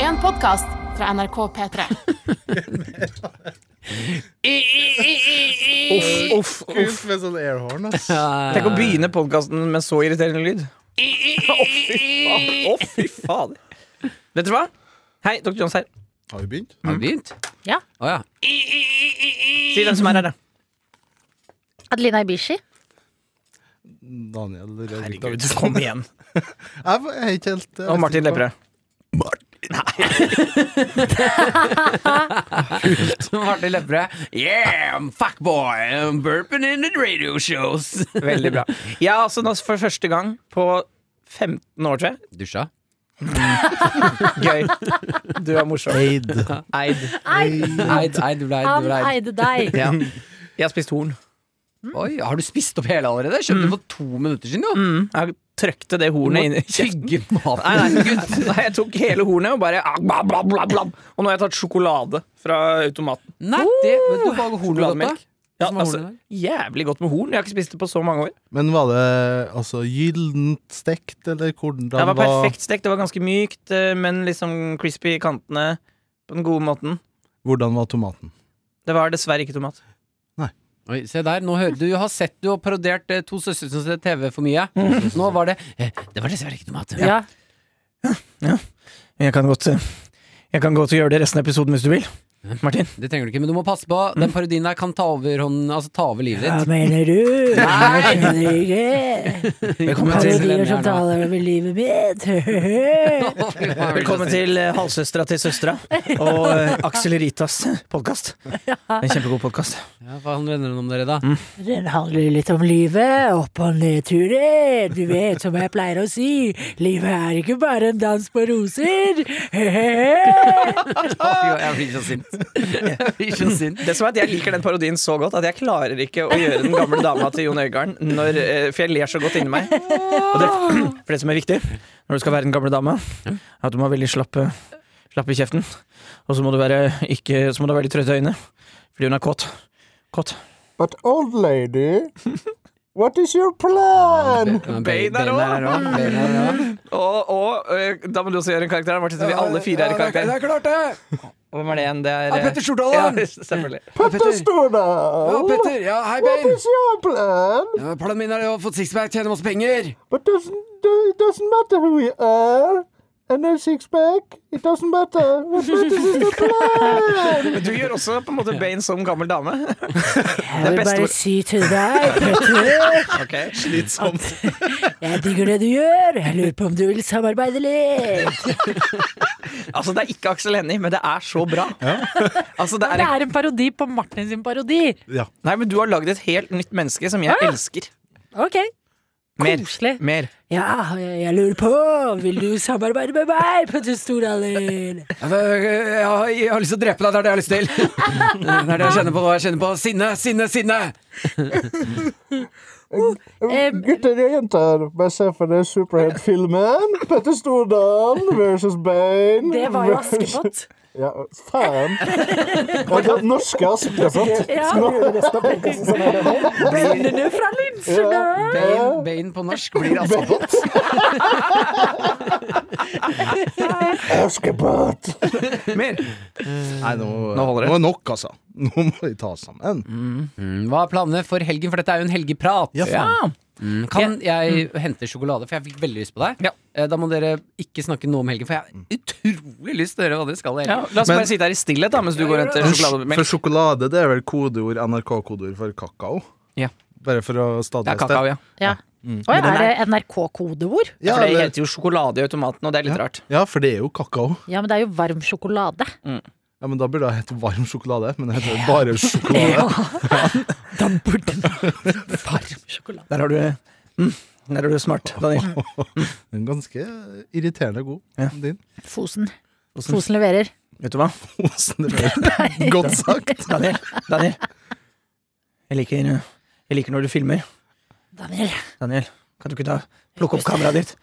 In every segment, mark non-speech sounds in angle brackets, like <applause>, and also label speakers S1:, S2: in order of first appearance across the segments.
S1: en podkast fra NRK P3.
S2: Uff, uff, uff.
S3: Uff, med sånn airhorn, ass.
S2: Tenk å begynne podkasten med så irriterende lyd. <laughs> Å, fy fader. Vet du hva? Hei, Dr. Johns her.
S3: Har vi begynt?
S4: Har du begynt?
S5: Ja.
S4: Å ja.
S2: Si hvem som er her, da.
S5: Adelina Ibishi.
S3: Daniel Rødvik
S2: Herregud,
S3: Davidsen.
S2: kom <laughs> igjen.
S3: Jeg var- jeg er ikke helt eh,
S2: Og Martin
S3: sikker på-
S2: Lepperød.
S4: <laughs> Martin Lepperød. Yeah, I'm fuckboy. I'm burping in the radio shows. <laughs>
S2: Veldig bra. Jeg har altså nå for første gang på 15 år, tror jeg.
S4: Dusja?
S2: Gøy. <laughs> Du er morsom.
S3: Eid.
S2: Eid.
S4: Nei, nei, du ble, du
S5: Han
S4: ble.
S5: eide deg.
S2: Ja. Jeg har spist horn.
S4: Oi, har du spist opp hele allerede? Kjøpte for to minutter siden, jo.
S2: Mm. Jeg trøkte det
S4: Du må
S2: hornet inn i kjeften.
S4: tygge maten.
S2: Nei, nei, gutt. nei, jeg tok hele hornet og bare ah, bla, bla, bla, bla. Og nå har jeg tatt sjokolade fra automaten.
S4: Nei,
S5: Oh.
S4: det Vet du hva hornet
S2: Sjokolademelk.
S4: ditt
S2: Ja,
S4: Hvordan var
S2: altså,
S4: hornet
S2: jævlig godt med horn. Jeg har ikke spist det på så mange år.
S3: Men var det altså gyllent stekt, eller hvordan
S2: Det var perfekt stekt. Det var ganske mykt, eh, men liksom crispy i kantene på den gode måten.
S3: Hvordan var tomaten?
S2: Mm. Det var dessverre ikke tomat.
S4: Oi, se der, nå hører du har sett du har parodiert eh, To søstre som ser TV for mye. Nå var det eh, Det var dessverre ikke tomat.
S5: Ja.
S2: Jeg kan godt, jeg kan godt gjøre det resten av episoden hvis du vil. Martin.
S4: Det trenger du ikke, men du må passe på. Den parodien der kan ta over, hånden, altså, ta over livet ditt.
S5: mener du? Nei, mener du ikke?
S4: Velkommen <laughs>
S5: taler over livet mitt.
S2: Velkommen til eh, Halvsøstera til søstera og eh, Aksel Ritas podkast. En kjempegod podkast.
S4: Ja, hva handler den om dere, da?
S5: Den handler litt om livet, opp- og nedturer. Du vet, som jeg pleier å si, livet er ikke bare en dans på roser.
S4: Å, fy, jeg blir så sint. Jeg blir så <laughs> sint.
S2: Det som er at Jeg liker den parodien så godt at jeg klarer ikke å gjøre den gamle dama til Jon Øigarden. når, eh, For jeg ler så godt inni meg. Og det, <clears throat> for det som er viktig når du skal være den gamle dama, er at du må ha veldig slapp, eh, slapp i kjeften. Og så må du være ikke, så må du ha veldig trøtte øyne, fordi hun er kåt. Kåt.
S3: But old
S5: <laughs>
S3: lady, what is your plan?
S2: Bein er også.
S4: <laughs>
S2: Og, og eh, da må du også gjøre en karakter. Martin, så vi alle fire er i karakter.
S4: er klart, det!
S2: Og hvem er det igjen? Det er eh,
S4: Petter
S2: <laughs>
S4: Stordalen.
S2: Ja, selvfølgelig.
S4: Petter Ja,
S5: Oh,
S3: Stordal,
S4: Petter! Ja, hei, Bein!
S3: your plan?
S4: Ja, planen min er å få sixpack, tjene masse penger.
S3: But doesn't, it doesn't matter who you are. And no six pack. It doesn't matter. What matters is the
S5: <laughs> Um,
S3: plan.
S2: Men du gjør også på en måte Bane som gammel dame.
S5: Jeg vil
S2: beste
S5: bare
S2: ord.
S5: si til deg, Petter,
S2: Okay.
S3: Slitsomt.
S5: jeg digger det du gjør. Jeg lurer på om du vil samarbeide litt.
S2: <laughs> Altså, det er ikke Aksel Hennie, men det er så bra. <laughs> Altså, det er en...
S5: Det er en parodi på Martin sin parodi.
S3: Ja.
S2: Nei, men du har lagd et helt nytt menneske som jeg elsker.
S5: Ok,
S2: Mer.
S5: koselig.
S2: Mer.
S5: Ja, jeg, jeg lurer på, vil du samarbeide med meg, Petter Stordalen?
S4: Ja, det, jeg, har, jeg har lyst til å drepe deg, det er det jeg har lyst <laughs> til. Det er det jeg kjenner på nå. Jeg kjenner på sinne, sinne, sinne.
S5: Em,
S3: Oh, Gutter og jenter, med seg for den superheltfilmen Petter Stordal versus Bane.
S5: Det var jo Askepott.
S3: Ja, faen. Ja, det norske Askepott.
S5: <laughs> Ja. Bøndene fra Linsjødøl.
S4: Bein, bein på norsk <laughs> blir altså
S3: Askepott!
S2: Mer.
S3: Nei, nå,
S2: Nå holder det. Mm.
S3: nå er nok, altså. Nå må vi ta oss sammen.
S4: Hva er planene for helgen? For dette er jo en helgeprat.
S3: Ja, faen.
S4: Mm, Kan jeg hente sjokolade? For jeg fikk veldig lyst på deg.
S2: Ja.
S4: Eh, Da må dere ikke snakke noe om helgen, for jeg har utrolig lyst til å høre hva dere skal i
S2: Ja,
S4: helgen.
S2: la oss
S3: Men-
S2: bare sitte her i stillhet da, mens du går og henter
S3: Men
S2: sjokolademelk.
S3: For sjokolade, det er vel kodeord, NRK-kodeord for kakao?
S2: Ja.
S3: Bare for å
S2: Det er
S3: stadfeste.
S2: kakao, ja.
S5: Ja. Å, ja, er det
S6: <laughs>
S5: NRK-kodeord?
S2: ja
S3: Ja,
S2: for det
S3: det,
S2: heter jo sjokolade i automaten, og det er litt rart.
S3: ja, for det er jo kakao.
S5: Ja, men det er jo varm sjokolade.
S2: Mm.
S3: Ja, men Da burde det hete varm sjokolade, men det heter jo bare sjokolade.
S5: Da burde Varm sjokolade.
S2: Der har du mm, Der er du smart, Daniel.
S3: Den er ganske irriterende god.
S2: Ja.
S3: <laughs> Din.
S5: Fosen. Fosen leverer.
S2: Vet du hva,
S3: Osen <laughs> rød. Godt sagt.
S2: Daniel? Daniel. Jeg liker, jeg liker når du filmer.
S5: Daniel.
S2: Daniel, kan du ikke ta plukke opp kameraet ditt?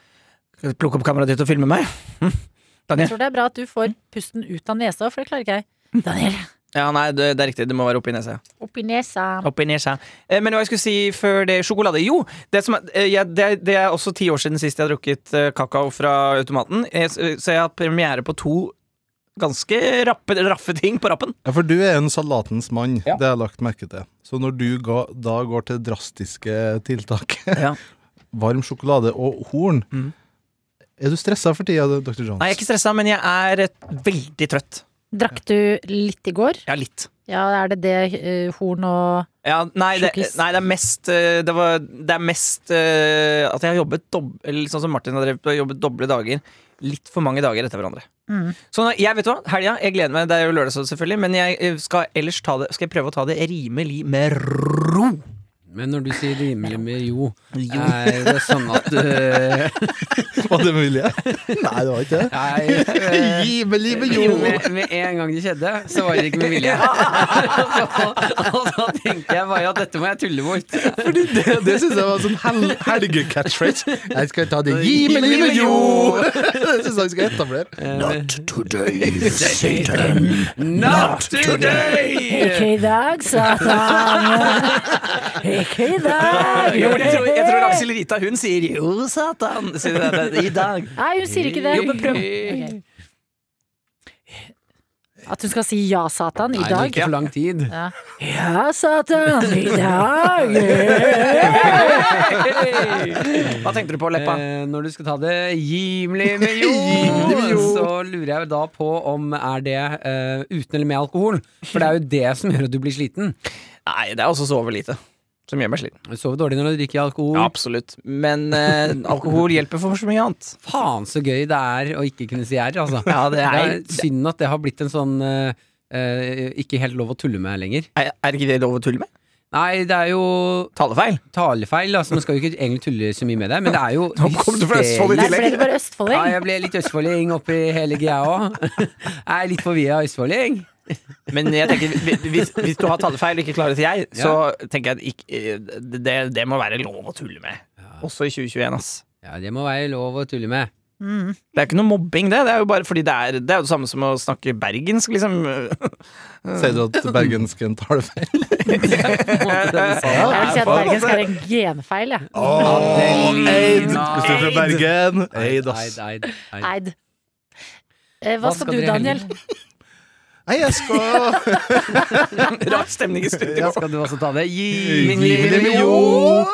S2: Kan du Plukke opp kameraet ditt og filme meg? Hm?
S5: Jeg
S2: Daniel?
S5: tror det er bra at du får pusten ut av nesa, for det klarer ikke jeg. Daniel.
S2: Ja, nei, det, det er riktig. Det må være oppi nesa.
S5: Oppi nesa.
S2: Oppi nesa. Eh, Men hva jeg skulle si før det sjokolade Jo, det, som er, eh, jeg, det, det er eh, også ti år siden sist jeg har drukket eh, kakao fra automaten. Jeg, s- så jeg har hatt premiere på to ganske rappe, raffe ting på rappen.
S3: Ja, for du er en salatens mann,
S2: Ja.
S3: det har jeg lagt merke til. Så når du ga, da går til drastiske tiltak, <laughs>
S2: Ja.
S3: varm sjokolade og horn Er du stressa for tida, Dr. Jones?
S2: Nei, jeg er ikke stressa, men jeg er eh, veldig trøtt.
S5: Drakk du litt i går?
S2: Ja, litt.
S5: Ja, er det det eh, horn og
S2: Ja, nei, det,
S5: Sjokkis.
S2: nei, det er mest eh, Det, var, det er mest eh, at jeg har jobbet dob, eller Sånn som Martin har drevet og jobbet doble dager. Litt for mange dager etter hverandre.
S5: Mm.
S2: Så nå- jeg vet du hva, helga, jeg gleder meg. Det er jo lørdag, så selvfølgelig. Men jeg eh, skal ellers ta det Skal jeg prøve å ta det rimelig med ro.
S4: Men når du sier rimelig med jo,
S2: Jo.
S4: er det sånn at du
S3: <laughs> Var det mulig? Nei, det var ikke det.
S4: Nei, eh,
S3: Gi meg livet,
S4: jo,
S3: jo!
S4: med, med en gang det skjedde, så var det ikke med vilje. <laughs> Så- Og så tenkte jeg bare at dette må jeg tulle bort.
S3: Det, <laughs> det syns jeg var sånn hel helge-catchphrase. Jeg skal ta det. Gi meg livet, jo! Det syns <laughs> jeg vi skal etablere.
S4: Not today!
S6: Ikke i dag, satan. Ikke i dag.
S2: Jo, men jeg, tror, jeg tror Aksel Rita hun sier 'jo, satan' sier det, det, i dag.
S5: Nei, hun sier ikke det.
S2: Jo, men prøv.
S5: Ok. At hun skal si ja, Satan, i
S4: Nei, det er
S5: dag?
S4: ikke for lang tid.
S5: Ja.
S6: Ja,
S2: <laughs>
S6: satan. I dag.
S2: Hva tenkte du på, Leppa?
S4: Eh, når du skal ta det gimelig
S2: <laughs>
S4: med jo,
S3: Gimelig med jo.
S4: så lurer jeg jo da på om er det eh, uten eller med alkohol. For det er jo det som gjør at du blir sliten.
S2: Nei, det er også sove lite. Som gjør meg sliten.
S4: Du sover dårlig når du drikker alkohol.
S2: Ja, absolutt. Men eh, alkohol hjelper for så mye annet.
S4: Faen så gøy det er å ikke kunne si r, altså.
S2: Ja, det er,
S4: Det er synd at det har blitt en sånn eh, eh, ikke helt lov å tulle med lenger.
S2: er, er ikke det lov å tulle med?
S4: Nei, det er jo
S2: Talefeil.
S4: talefeil, altså. Man skal jo ikke egentlig tulle så mye med det, men det er jo
S2: Nå kom du fra Østfold i
S5: Nei,
S2: tillegg.
S5: ble du bare
S4: Ja,
S5: østfolding?
S4: jeg ble litt østfolding oppi hele greia òg. <laughs> Jeg er litt forvirra østfolding.
S2: Men jeg tenker, hvi- hvis, hvis du har talefeil og ikke klarer å si jeg, så tenker jeg at ikk- eh, det, det må være lov å tulle med. Også i 2021, ass.
S4: Ja, det må være lov å tulle
S3: <laughs>
S4: med.
S2: Det er ikke noe mobbing, det. Det er jo bare fordi det er det, er jo det samme som å snakke bergensk, liksom. <laughs>
S3: Sier du at bergensken tar det feil?
S5: Jeg vil si at
S2: faen,
S5: bergensk er en genfeil, jeg.
S3: Eid! Hvis du er fra Bergen. Eid, ass.
S4: Eid, eid, eid.
S5: Eid. Eh, Hva skal du,
S4: dere i
S5: Daniel?
S4: helgen?
S3: Nei, jeg skal
S2: Rar stemning i studio.
S4: Ja, skal du også ta det? Gi
S3: Min livlige million!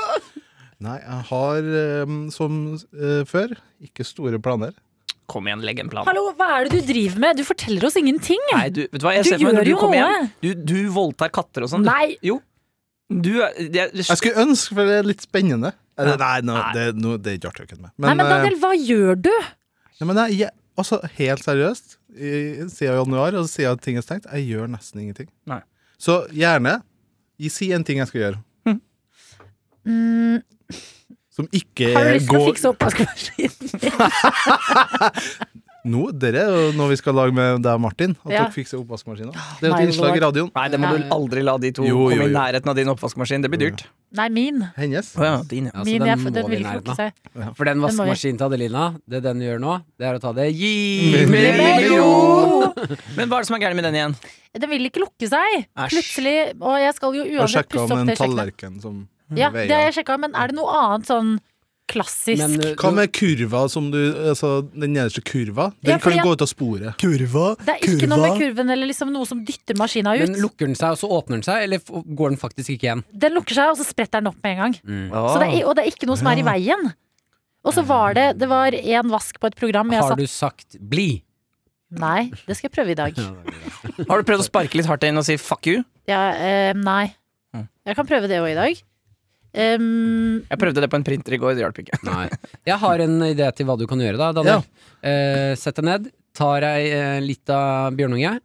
S3: Nei, jeg har ehm, som eh, før ikke store planer.
S2: Kom igjen, legg en plan.
S5: Hallo, hva er det du driver med? Du forteller oss ingenting!
S2: Nei, du, vet du hva, jeg
S5: Du
S2: ser for meg
S5: gjør
S2: at du
S5: jo
S2: kommer
S5: noe.
S2: hjem. Du, du voldtar katter og sånn. du.
S5: Nei.
S2: Jo. Du er jeg- jeg-
S3: Jeg skulle ønske, for det er litt spennende. Eller, nei, nå- det, nå- det er ikke artig å kødde med.
S5: Nei, men
S3: eh,
S5: Daniel, hva gjør du?
S3: ja, men jeg, jeg, altså, helt seriøst, i, siden januar og siden ting er stengt, jeg gjør nesten ingenting.
S2: Nei.
S3: Så gjerne gi- si en ting jeg skal gjøre,
S5: Hm. Mm,
S3: som ikke
S5: har du lyst til å
S3: går
S5: fikse oppvaskmaskinen?
S3: Nå, Dere er jo noe vi skal lage med deg, Martin. At
S5: Ja. Ah,
S3: dere fikser oppvaskmaskinen. Det er jo
S5: my
S3: et innslag i
S5: lord.
S3: radioen.
S2: Nei, det må du aldri la de to
S3: Jo,
S2: komme i
S3: jo, jo.
S2: nærheten av din oppvaskmaskin. Det
S5: Mm.
S2: blir dyrt.
S5: Nei, min.
S3: Hennes.
S2: Å ja, din, ja.
S4: Altså,
S5: Min,
S4: den
S5: jeg,
S4: må
S5: den
S4: vi i
S5: vil ikke
S4: nærheten
S5: lukke
S4: av.
S5: seg.
S4: For den
S5: må vi.
S4: vaskemaskinen til Adelina, det den gjør nå, det er å ta
S3: Min
S4: det gimelig
S2: Men hva er det som er gærent med den igjen?
S5: <laughs> Den vil ikke lukke seg!
S2: Æsj.
S5: Plutselig. Og jeg skal jo
S3: Og
S5: uansett
S3: sjekka
S5: pusse
S3: om
S5: opp
S3: en
S5: det kjøkkenet.
S3: tallerken som
S5: Ja,
S3: veier.
S5: det har jeg sjekka, men er det noe annet sånn klassisk?
S4: Men uh,
S3: Hva
S4: du-
S3: med kurva som du Altså, den nederste kurva? Den
S5: Ja, for
S3: kan
S5: jeg-
S3: gå ut av sporet. Kurva?
S5: det er ikke noe med kurven eller liksom noe som dytter maskina ut.
S4: men lukker den seg, og så åpner den seg, eller f- går den faktisk ikke igjen?
S5: Den lukker seg, og så spretter den opp med en gang. Så det
S2: Ah.
S5: er, og det er ikke noe som er i veien. Og så var det Det var én vask på et program. Jeg
S4: Har
S5: satt,
S4: du sagt 'bli'?
S5: Nei, det skal jeg prøve i
S2: <laughs>
S5: dag.
S2: Har du prøvd å sparke litt hardt inn og si fuck you?
S5: Ja, eh, nei.
S2: Mm.
S5: Jeg kan prøve det òg i dag. Um,
S2: Jeg prøvde det på en printer i går, det hjalp ikke.
S4: Nei. Jeg har en idé til hva du kan gjøre da, Daniel. Eh, sett deg ned, tar ei eh, lita bjørnunge,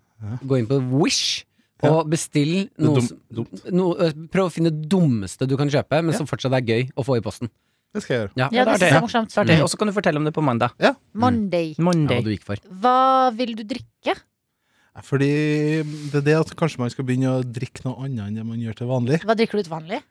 S4: gå inn på Wish. Og bestill noe
S3: dum-
S4: som noe, eh, Prøv å finne det dummeste du kan kjøpe, men som fortsatt er gøy å få i posten.
S3: Det skal jeg gjøre.
S5: ja, det
S2: det Mm. er
S5: synes jeg
S2: det.
S5: er morsomt.
S2: Det er det. Mm. Og så kan du fortelle om det på mandag.
S5: Monday.
S4: Ja, hva
S2: Monday.
S4: du gikk for.
S5: Hva vil du drikke?
S3: Fordi det er det at kanskje man skal begynne å drikke noe annet enn det man gjør til vanlig.
S5: Hva drikker du til vanlig?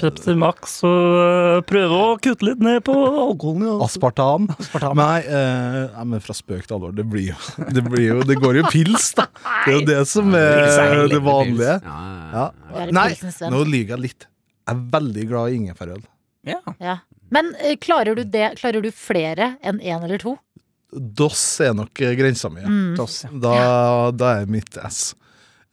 S7: Pepsi Max og prøve å kutte litt ned på alkoholen. Ja.
S3: Aspartam. Nei, eh, nei, men fra spøk til alvor. Det blir jo <laughs> Det, blir jo, det går jo pils, da. Det er jo det som
S4: Pils er
S3: er
S4: hellig
S3: det
S4: med
S3: vanlige.
S4: pils. Ja,
S3: Ja.
S5: Du er en
S3: Nei,
S5: pilsens venn.
S3: nå lyver jeg litt. Jeg er veldig glad i ingefærøl.
S2: Ja.
S5: Ja. Men eh, klarer du det Klarer du flere enn én eller to?
S3: DOS er nok eh, grensa mi.
S5: Mm.
S2: Til oss, ja.
S3: Da, da er mitt S.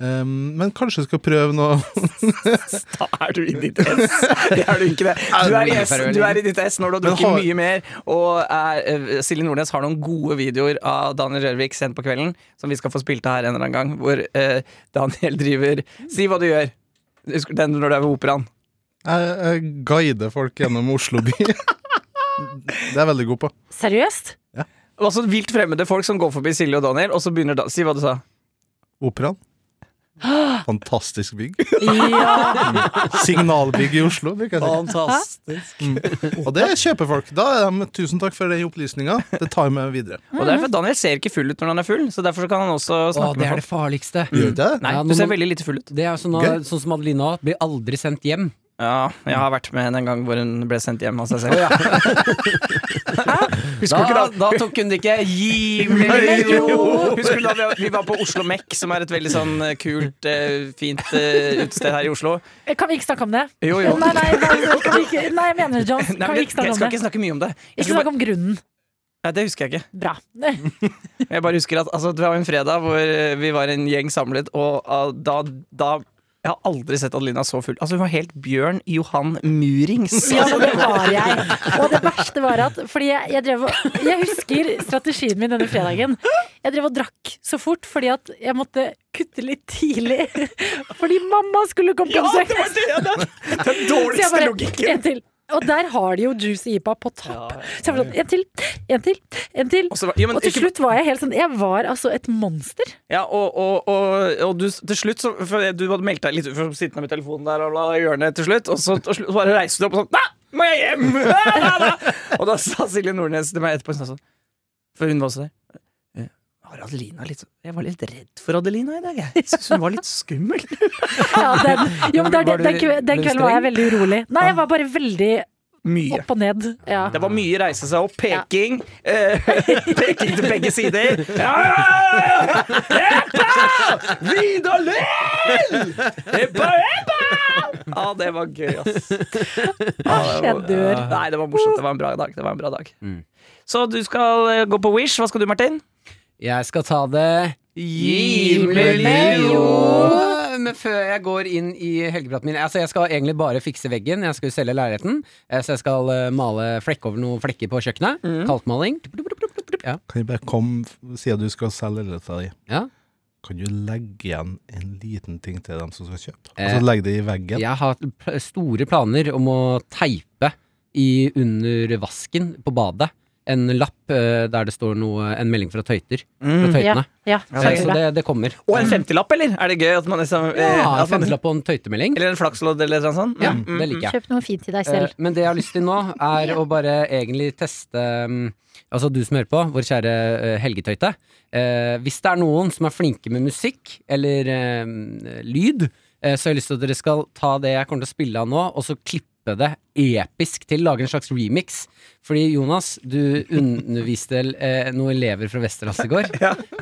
S3: Um, men kanskje jeg skal prøve
S2: <laughs>
S3: noe <laughs>
S2: Da er du i ditt ess. <laughs> Det er du ikke det. Du er i, S, du er i ditt ess når du har
S3: Men
S2: drukket
S3: har-
S2: mye mer. Og er, eh, Silje Nordnes har noen gode videoer av Daniel Rørvik sent på kvelden, som vi skal få spilt av her en eller annen gang, hvor eh, Daniel driver Si hva du gjør. Husker du den når du er ved operaen?
S3: Jeg, jeg guider folk gjennom Oslo by. <laughs> Det er jeg veldig god på.
S5: Seriøst?
S2: Og så vilt fremmede folk som går forbi Silje og Daniel, og så begynner da Si hva du sa.
S3: Operaen. Fantastisk bygg. Signalbygg i Oslo, bruker jeg å si. Mm.
S2: Fantastisk.
S3: Og det kjøper folk. Da er de tusen takk for den opplysninga. Det tar jeg med videre.
S2: Og det er fordi Daniel ser ikke full ut når han er full, så derfor så kan han også
S4: Å,
S2: snakke
S4: det
S2: med
S4: er det
S2: folk.
S4: farligste.
S3: Gjør det?
S2: Nei,
S4: Ja,
S2: du
S4: når
S2: ser
S4: man-
S2: veldig lite full ut.
S4: Det er sånn,
S3: Gøy.
S4: sånn som Adelina blir aldri sendt hjem.
S2: Ja, jeg har vært med henne en gang hvor hun ble sendt hjem av seg selv. <laughs> Husker du ikke
S4: Da,
S2: da?
S4: da tok hun det ikke. Gi
S2: Nei,
S4: meg jo!
S2: jo! Husker du da vi, vi var på Oslo Mek, som er et veldig sånn eh, kult, eh, fint eh, utested her i Oslo?
S5: Eh, Kan vi ikke snakke om det?
S2: Jo, <laughs> jo.
S5: Nei, nei, nei, kan vi ikke, nei jeg mener det, John.
S2: <laughs> Nei,
S5: Kan
S2: men
S5: vi
S2: jeg,
S5: ikke
S2: jeg skal
S5: snakke om
S2: ikke
S5: det?
S2: snakke mye om det. Jeg
S5: Ikke
S2: skulle bare,
S5: snakk om grunnen.
S2: nei, det husker jeg ikke.
S5: Bra.
S2: Jeg bare husker at altså, Det var en fredag hvor eh, vi var en gjeng samlet, og ah, da, da Jeg har aldri sett Adelina så full. Altså Hun var helt Bjørn Johan Murings.
S5: Ja, men det var jeg. Og det verste var at Fordi jeg, jeg drev og Jeg husker strategien min denne fredagen. Jeg drev og drakk så fort fordi at jeg måtte kutte litt tidlig. <laughs> Fordi mamma skulle komme på besøk.
S2: <laughs> Den
S5: Så jeg
S2: dårligste
S5: bare En til. Og der har de jo Juicy Ipa på topp. Så jeg var sånn En til, en til, en til.
S2: Og så var- ja, men
S5: Og til
S2: ikke-
S5: slutt var jeg helt sånn Jeg var altså et monster.
S2: Ja, og, og, og, og du, til slutt så, for Du hadde meldt deg litt ut for å sitte med telefonen der og bla, i hjørnet til slutt, og så, og slu- så bare reiste du opp og sånn Da må jeg hjem! <laughs> Da, da, da. Og da sa Silje Nordnes til meg etterpå hun sa sånn For hun var også der. «Eh, Var Adelina litt sånn Jeg var litt redd for Adelina i dag, jeg. Jeg synes hun var litt skummel.
S5: <laughs> Ja, den, jo, men der,
S4: Var
S5: den,
S4: du-
S5: den, kve- den
S4: ble du
S5: kvelden var jeg veldig urolig. Nei, jeg var bare veldig
S2: Mye.
S5: opp og ned. Ja.
S2: Det var mye reise seg opp, peking. Eh, peking til begge sider. Ja, ja, ja, ja. Eppa! Vidar Lill! Eppa, eppa! Ja, det var gøy, ass. Ja, det var-
S5: Jeg dør.
S2: Nei, det var morsomt. Det var en bra dag. Det var en bra dag.
S4: Mm.
S2: Så du skal eh, gå på Wish. Hva skal du, Martin?
S4: Jeg skal ta det Men før jeg går inn i helgepraten min Altså, jeg skal egentlig bare fikse veggen. Jeg skal jo selge leiligheten. Eh, Så jeg skal eh, male flekk over noen flekker på kjøkkenet.
S3: Mm.
S4: Kalkmaling. Ja.
S3: Kan jeg bare komme f- si at du skal selge leiligheta di?
S4: Ja.
S3: Kan du legge igjen en liten ting til dem som skal kjøpe?
S4: Eh,
S3: Altså legge det i veggen?
S4: Jeg har pl- store planer om å teipe i, under vasken på badet. En lapp eh, der det står noe, en melding fra tøyter. Fra
S5: Ja,
S4: tøytene.
S5: ja.
S4: Eh, Så
S5: kjempebra.
S4: det, det kommer.
S2: Og en femtilapp, eller? Er det gøy at man liksom eh,
S4: Ja,
S2: at man,
S4: femtilapp og en tøytemelding.
S2: Eller en flakslodd, eller noe sånt?
S4: Ja,
S2: Mm, mm,
S4: det liker jeg.
S5: Kjøp noe fint til deg
S4: Eh,
S5: selv.
S4: Men det jeg har lyst til nå, er å bare egentlig teste mm, Altså du som hører på, vår kjære eh, Helgetøyte. Eh, hvis det er noen som er flinke med musikk eller eh, lyd, eh, så har jeg lyst til at dere skal ta det jeg kommer til å spille av nå, og så klippe det episk til. Lage en slags remix. Fordi Jonas, du underviste eh, noen elever fra Westerdals i går.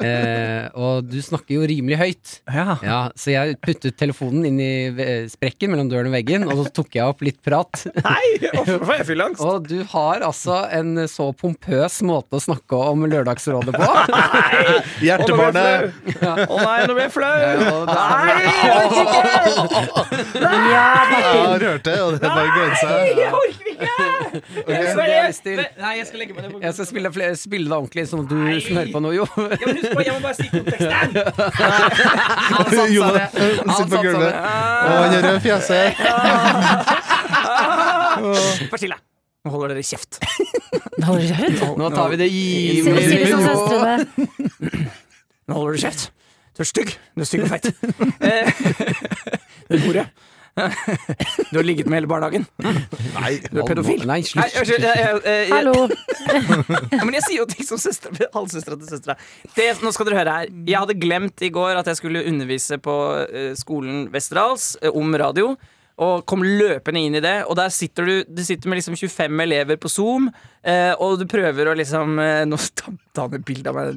S4: eh, og du snakker jo rimelig høyt.
S2: Ja.
S4: Ja, så jeg puttet telefonen inn i eh, sprekken mellom døren og veggen, og så tok jeg opp litt prat.
S2: Nei, hvorfor får jeg fylleangst?
S4: Og du har altså en så pompøs måte å snakke om Lørdagsrådet <laughs> på.
S3: Hjertebarnet!
S2: Å nei, nå ble jeg flau!
S4: og da-
S2: Nei, jeg orker ikke!
S3: Jeg har hørt det, og det er bare grenser.
S2: Jeg orker ikke!
S4: det
S2: Jeg
S4: har jeg lyst til.
S2: Nei, jeg skal legge meg ned. på
S4: Jeg skal spille, fle- spille det ordentlig, sånn at du som hører på nå, jo. <laughs>
S2: Ja, men husk på, jeg må bare si konteksten!
S4: Han satsa
S3: Jonas øh,
S4: det. Han
S3: sitter på
S4: satsa
S3: gulvet.
S4: det.
S3: Og han har rød fjeset.
S2: Vær stille. Nå holder dere kjeft.
S5: Holder du kjeft?
S4: Nå tar vi det
S5: Si det si det som
S4: givende.
S5: søstrene.
S2: Nå holder du kjeft. Du er stygg. Du er stygg og feit. Eh, <laughs> Du er hore. Du har ligget med hele barnehagen.
S3: Nei,
S2: Du er pedofil. Nei,
S4: Nei, slutt. <laughs>
S2: unnskyld. jeg- jeg- jeg- jeg-
S5: Hallo.
S2: Ja, men jeg sier jo ting som søstre, halvsøstera til søstera. Det- Nå skal dere høre her. Jeg hadde glemt i går at jeg skulle undervise på eh, skolen Westerdals eh, om radio. Og kom løpende inn i det, og der sitter du Du sitter med liksom 25 elever på Zoom, eh, og du prøver å liksom eh, Nå <laughs> stamte han et bilde av meg.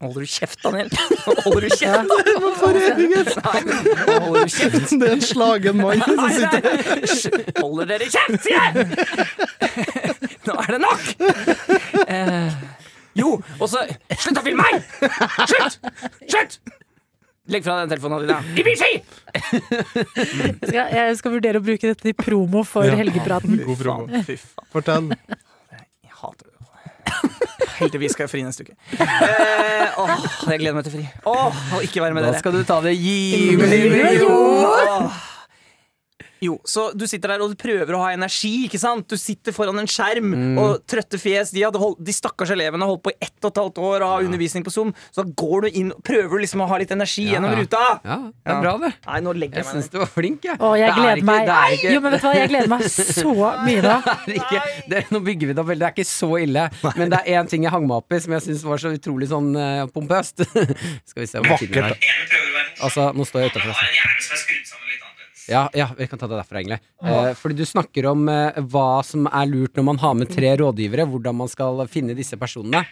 S2: Nå Holder du kjeft, Daniel? Nå Holder du kjeft? Nei, nå holder du kjeft?
S3: det er en slagen mann som
S2: Nei,
S3: sitter
S2: nei. Hysj, Holder dere kjeft, sier jeg! Nå er det nok! Eh, jo, jo! Og så Slutt å filme meg! Slutt! Slutt! Legg fra deg den telefonen, Adina. Ibishi!
S5: Jeg skal, jeg skal vurdere å bruke dette i promo for helgepraten.
S3: God promo.
S2: Fy faen.
S3: Fortell.
S2: Jeg hater det. Heldigvis skal jeg fri neste uke. Eh, åh, jeg gleder meg til fri. Åh, å ikke være med
S4: Da
S2: dere.
S4: skal du ta det
S2: Givelig
S4: givelig
S2: jord. Jo, så Du sitter der og du prøver å ha energi. ikke sant? Du sitter foran en skjerm. Og trøtte fjes. De, hadde holdt, de stakkars elevene har holdt på i ett og et halvt år og har undervisning på Zoom. Så da går du inn og prøver liksom å ha litt energi
S4: Ja,
S2: gjennom
S4: ja.
S2: ruta.
S4: Ja, det er bra, det.
S2: Nei, nå legger jeg
S4: Jeg
S2: meg
S4: syns
S2: ned.
S4: du var flink, jeg.
S5: Å, jeg
S4: Det er
S5: gleder
S4: ikke-
S5: meg.
S4: det er ikke-
S5: Jo, men vet du hva, jeg gleder meg så mye da.
S4: <laughs> Det er ikke, det, nå bygger vi det opp veldig, det er ikke så ille. Men det er én ting jeg hang meg opp i som jeg syns var så utrolig sånn eh, pompøst. <laughs> Skal vi se om tiden er Altså, nå står jeg utenfor altså. Ja, ja, vi kan ta det derfra, egentlig. Eh, fordi du snakker om eh, hva som er lurt når man har med tre rådgivere, hvordan man skal finne disse personene.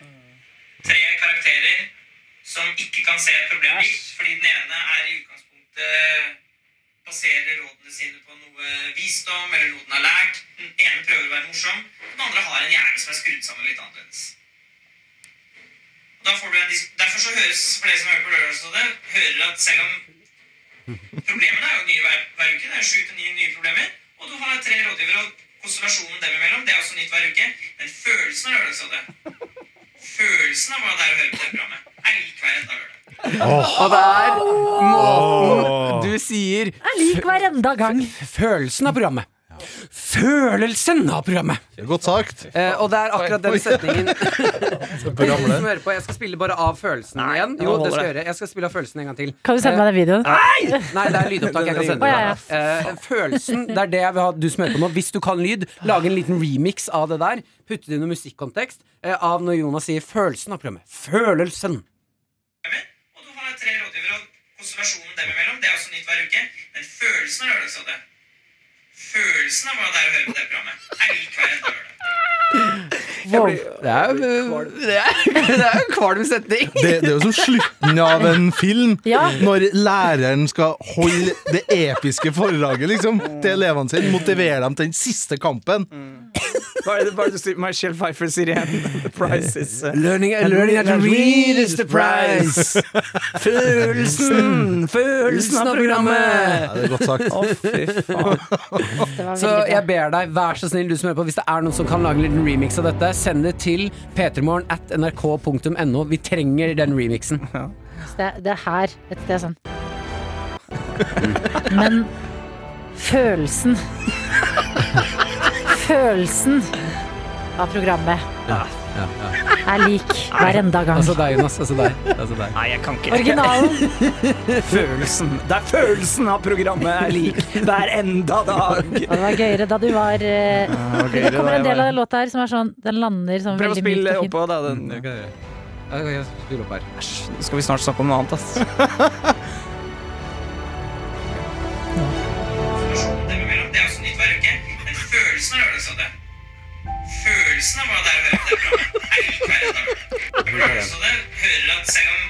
S8: tre karakterer som ikke kan se et problem likt, fordi den ene er i utgangspunktet baserer rådene sine på noe visdom eller noe den har lært. Den ene prøver å være morsom, den andre har en hjerne som er skrudd sammen litt annerledes. Og da får du en dis- Derfor så høres, for dere som hører på Lørdagsrådet, hører at selv om problemene er jo nye hver, hver uke, det er sju til ni nye problemer, og du har tre rådgivere, og konstellasjonen dem imellom, det er også nytt hver uke, men følelsen av Lørdagsrådet Følelsen av hva det er å høre på det programmet, er lik hver eneste lørdag.
S4: Og det er måten du sier
S5: Jeg liker hver enda gang.
S4: følelsen av programmet. Følelsen av programmet!
S3: Godt sagt.
S4: Eh, og det er akkurat den setningen <laughs>
S3: Programmet.
S4: som hører på. Jeg skal spille bare av følelsen igjen.
S2: nå
S4: Jo, det
S2: holder
S4: skal jeg
S2: det.
S4: gjøre. Jeg skal spille av følelsen en gang til.
S5: Kan du sende meg den videoen?
S4: Nei, det er lydopptak jeg kan sende
S5: Å, ja,
S4: deg. Eh, følelsen, det er det jeg vil ha du som hører på nå. Hvis du kan lyd, lage en liten remix av det der. Putte det i noe musikkontekst eh, av når Jonas sier 'følelsen' av programmet. Følelsen!
S8: Og du har tre rådgivere, og konstellasjonen dem imellom, det er også nytt hver uke. Men følelsen av Lørdagsrådet, følelsen av hva det er å høre på det programmet, er lik hver eneste lørdag.
S4: Det er jo eh, det er- <laughs> det er jo en kvalm setning.
S3: Det, det er jo som slutten av en film.
S5: Ja.
S3: Når læreren skal holde det episke foredraget liksom, til elevene sine. Motivere dem til den siste kampen.
S4: Mm.
S2: Hva er det bare du sier? Michelle Pfeiffer sier igjen? <laughs> The price is uh,
S4: Learning,
S2: <laughs> learning how to read is the prize.
S4: Følelsen!
S2: <laughs> Følelsen av programmet!
S3: Ja, det er godt sagt.
S2: Å, fy faen.
S5: Det var
S4: Så
S5: veldig bra.
S4: jeg ber deg, vær så snill, du som hører på, hvis det er noen som kan lage en liten remix av dette, send det til p3morgen at nrk.no. Vi trenger den remixen.
S5: Det, det er her et sted sånn. Men følelsen Følelsen av programmet er lik hver enda gang.
S4: Altså deg, Jonas. Altså deg. Altså deg.
S2: Nei, jeg kan ikke.
S5: Originalen.
S2: <laughs> Følelsen. Det er følelsen av programmet er lik hver enda dag.
S5: Og det var gøyere da du var eh, <laughs> Det kommer en del av den låta her som er sånn Den lander sånn
S2: Prøv å
S5: veldig
S2: spille
S5: mykt og fint.
S2: oppå, da. Den.
S4: Ja, ok, jeg spiller opp her.
S2: Æsj, nå skal vi snart snakke om noe annet, ass.
S8: Konstellasjonen dem imellom, det er også nytt hver uke. Men følelsen av Lørdagsrådet, følelsen av hva det er å høre på det programmet, er lik hver eneste lørdag. Lørdagsrådet hører at selv om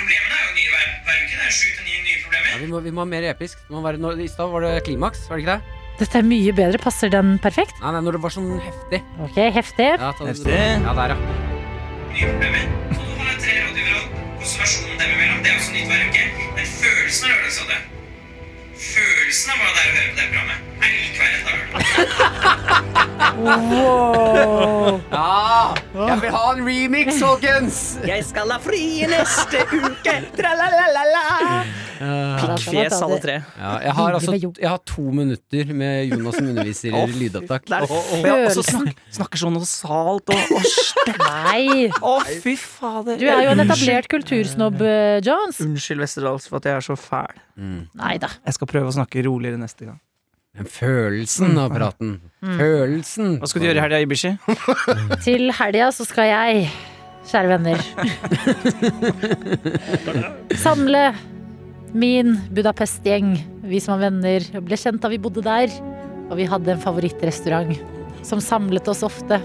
S8: problemene er jo nye hver, hver uke, det er sju til ni nye
S4: Ja,
S8: problemer,
S4: vi, må, vi må ha mer episk. Det må være, når, I stad var det klimaks, var det ikke det?
S5: Dette er mye bedre. Passer den perfekt?
S4: Nei, nei, når det var sånn heftig.
S5: Ok, heftig.
S4: Ja, ta,
S2: Heftig.
S4: Ja, der, ja.
S8: nye problemer. Og du har tre rådgivere, og konstellasjonen dem imellom, det er også nytt hver uke. Men følelsen av Lørdagsrådet, følelsen av hva det er å høre på det programmet, er lik hver eneste lørdag.
S5: Wow.
S4: ja! Ah, Jeg vil ha en remix, folkens!
S2: <laughs> Jeg skal ha fri neste uke, tra-la-la-la-la. Pikkfjes, alle tre.
S4: Ja, jeg, har altså, jeg har to minutter med Jonas som underviser i lydopptak.
S2: Der. Ja, og så snak, snakker sånn nasalt og, og sterkt.
S5: Nei.
S2: Å, fy fader.
S5: Du er jo en etablert kultursnobb, eh, Jones.
S2: Unnskyld, Westerdals, for at jeg er så fæl.
S5: Nei da.
S2: Jeg skal prøve å snakke roligere neste gang.
S4: Men følelsen av praten. Følelsen.
S2: Hva skal du gjøre i helga, Ibishi?
S5: Til helga så skal jeg, kjære venner Samle min Budapest-gjeng. Vi som var venner, ble kjent da vi bodde der. Og vi hadde en favorittrestaurant som samlet oss ofte.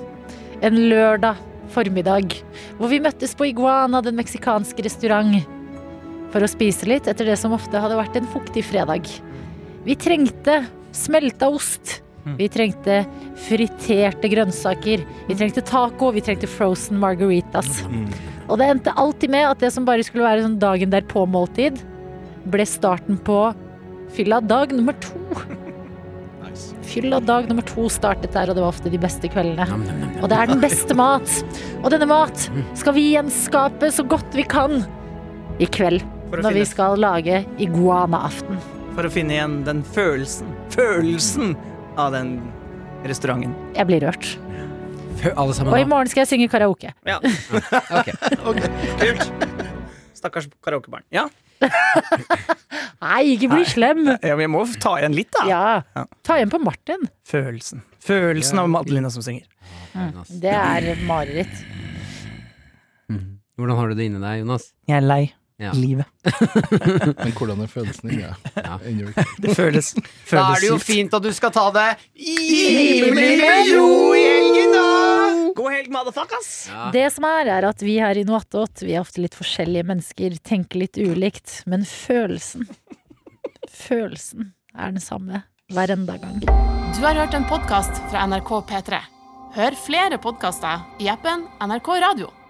S5: En lørdag formiddag hvor vi møttes på Iguana, den meksikanske restaurant, for å spise litt etter det som ofte hadde vært en fuktig fredag. Vi trengte smelta ost, Vi trengte friterte grønnsaker. Vi trengte taco. Vi trengte frozen margaritas.
S2: Mm.
S5: Og det endte alltid med at det som bare skulle være sånn dagen derpå-måltid, ble starten på fylla dag nummer to. Fylla dag nummer to startet der, og det var ofte de beste kveldene. Og det er den beste mat. Og denne mat
S2: Mm.
S5: skal vi gjenskape så godt vi kan i kveld.
S2: For å
S5: Når vi
S2: finne-
S5: skal lage iguanaaften.
S2: For å finne igjen den følelsen Følelsen av den restauranten.
S5: Jeg blir rørt.
S4: Fø- Alle sammen
S5: Og i
S4: da.
S5: morgen skal jeg synge karaoke.
S2: Ja,
S4: Ok.
S2: kult. Stakkars karaokebarn. Ja.
S5: Nei, ikke bli slem!
S2: ja, men jeg må ta igjen litt, da.
S5: Ja.
S2: Ja.
S5: Ta igjen på Martin.
S2: Følelsen. Følelsen av Madelina som synger.
S5: Det er mareritt.
S4: Hvordan har du det inni deg, Jonas?
S2: Jeg er lei
S4: Ja.
S2: livet.
S3: Men hvordan er følelsen inni deg?
S4: Ja.
S3: Ennå ikke.
S2: Det føles, føles
S4: Da er det jo
S2: kjipt.
S4: fint at du skal ta det
S2: Rimelig med jo i helgen, da! God helg, motherfuckers!
S5: Det som er, er at vi her i Noatot, vi er ofte litt forskjellige mennesker, tenker litt ulikt, men følelsen Følelsen er den samme hver enda gang.
S1: Du har hørt en podkast fra NRK P3. Hør flere podkaster i appen NRK Radio.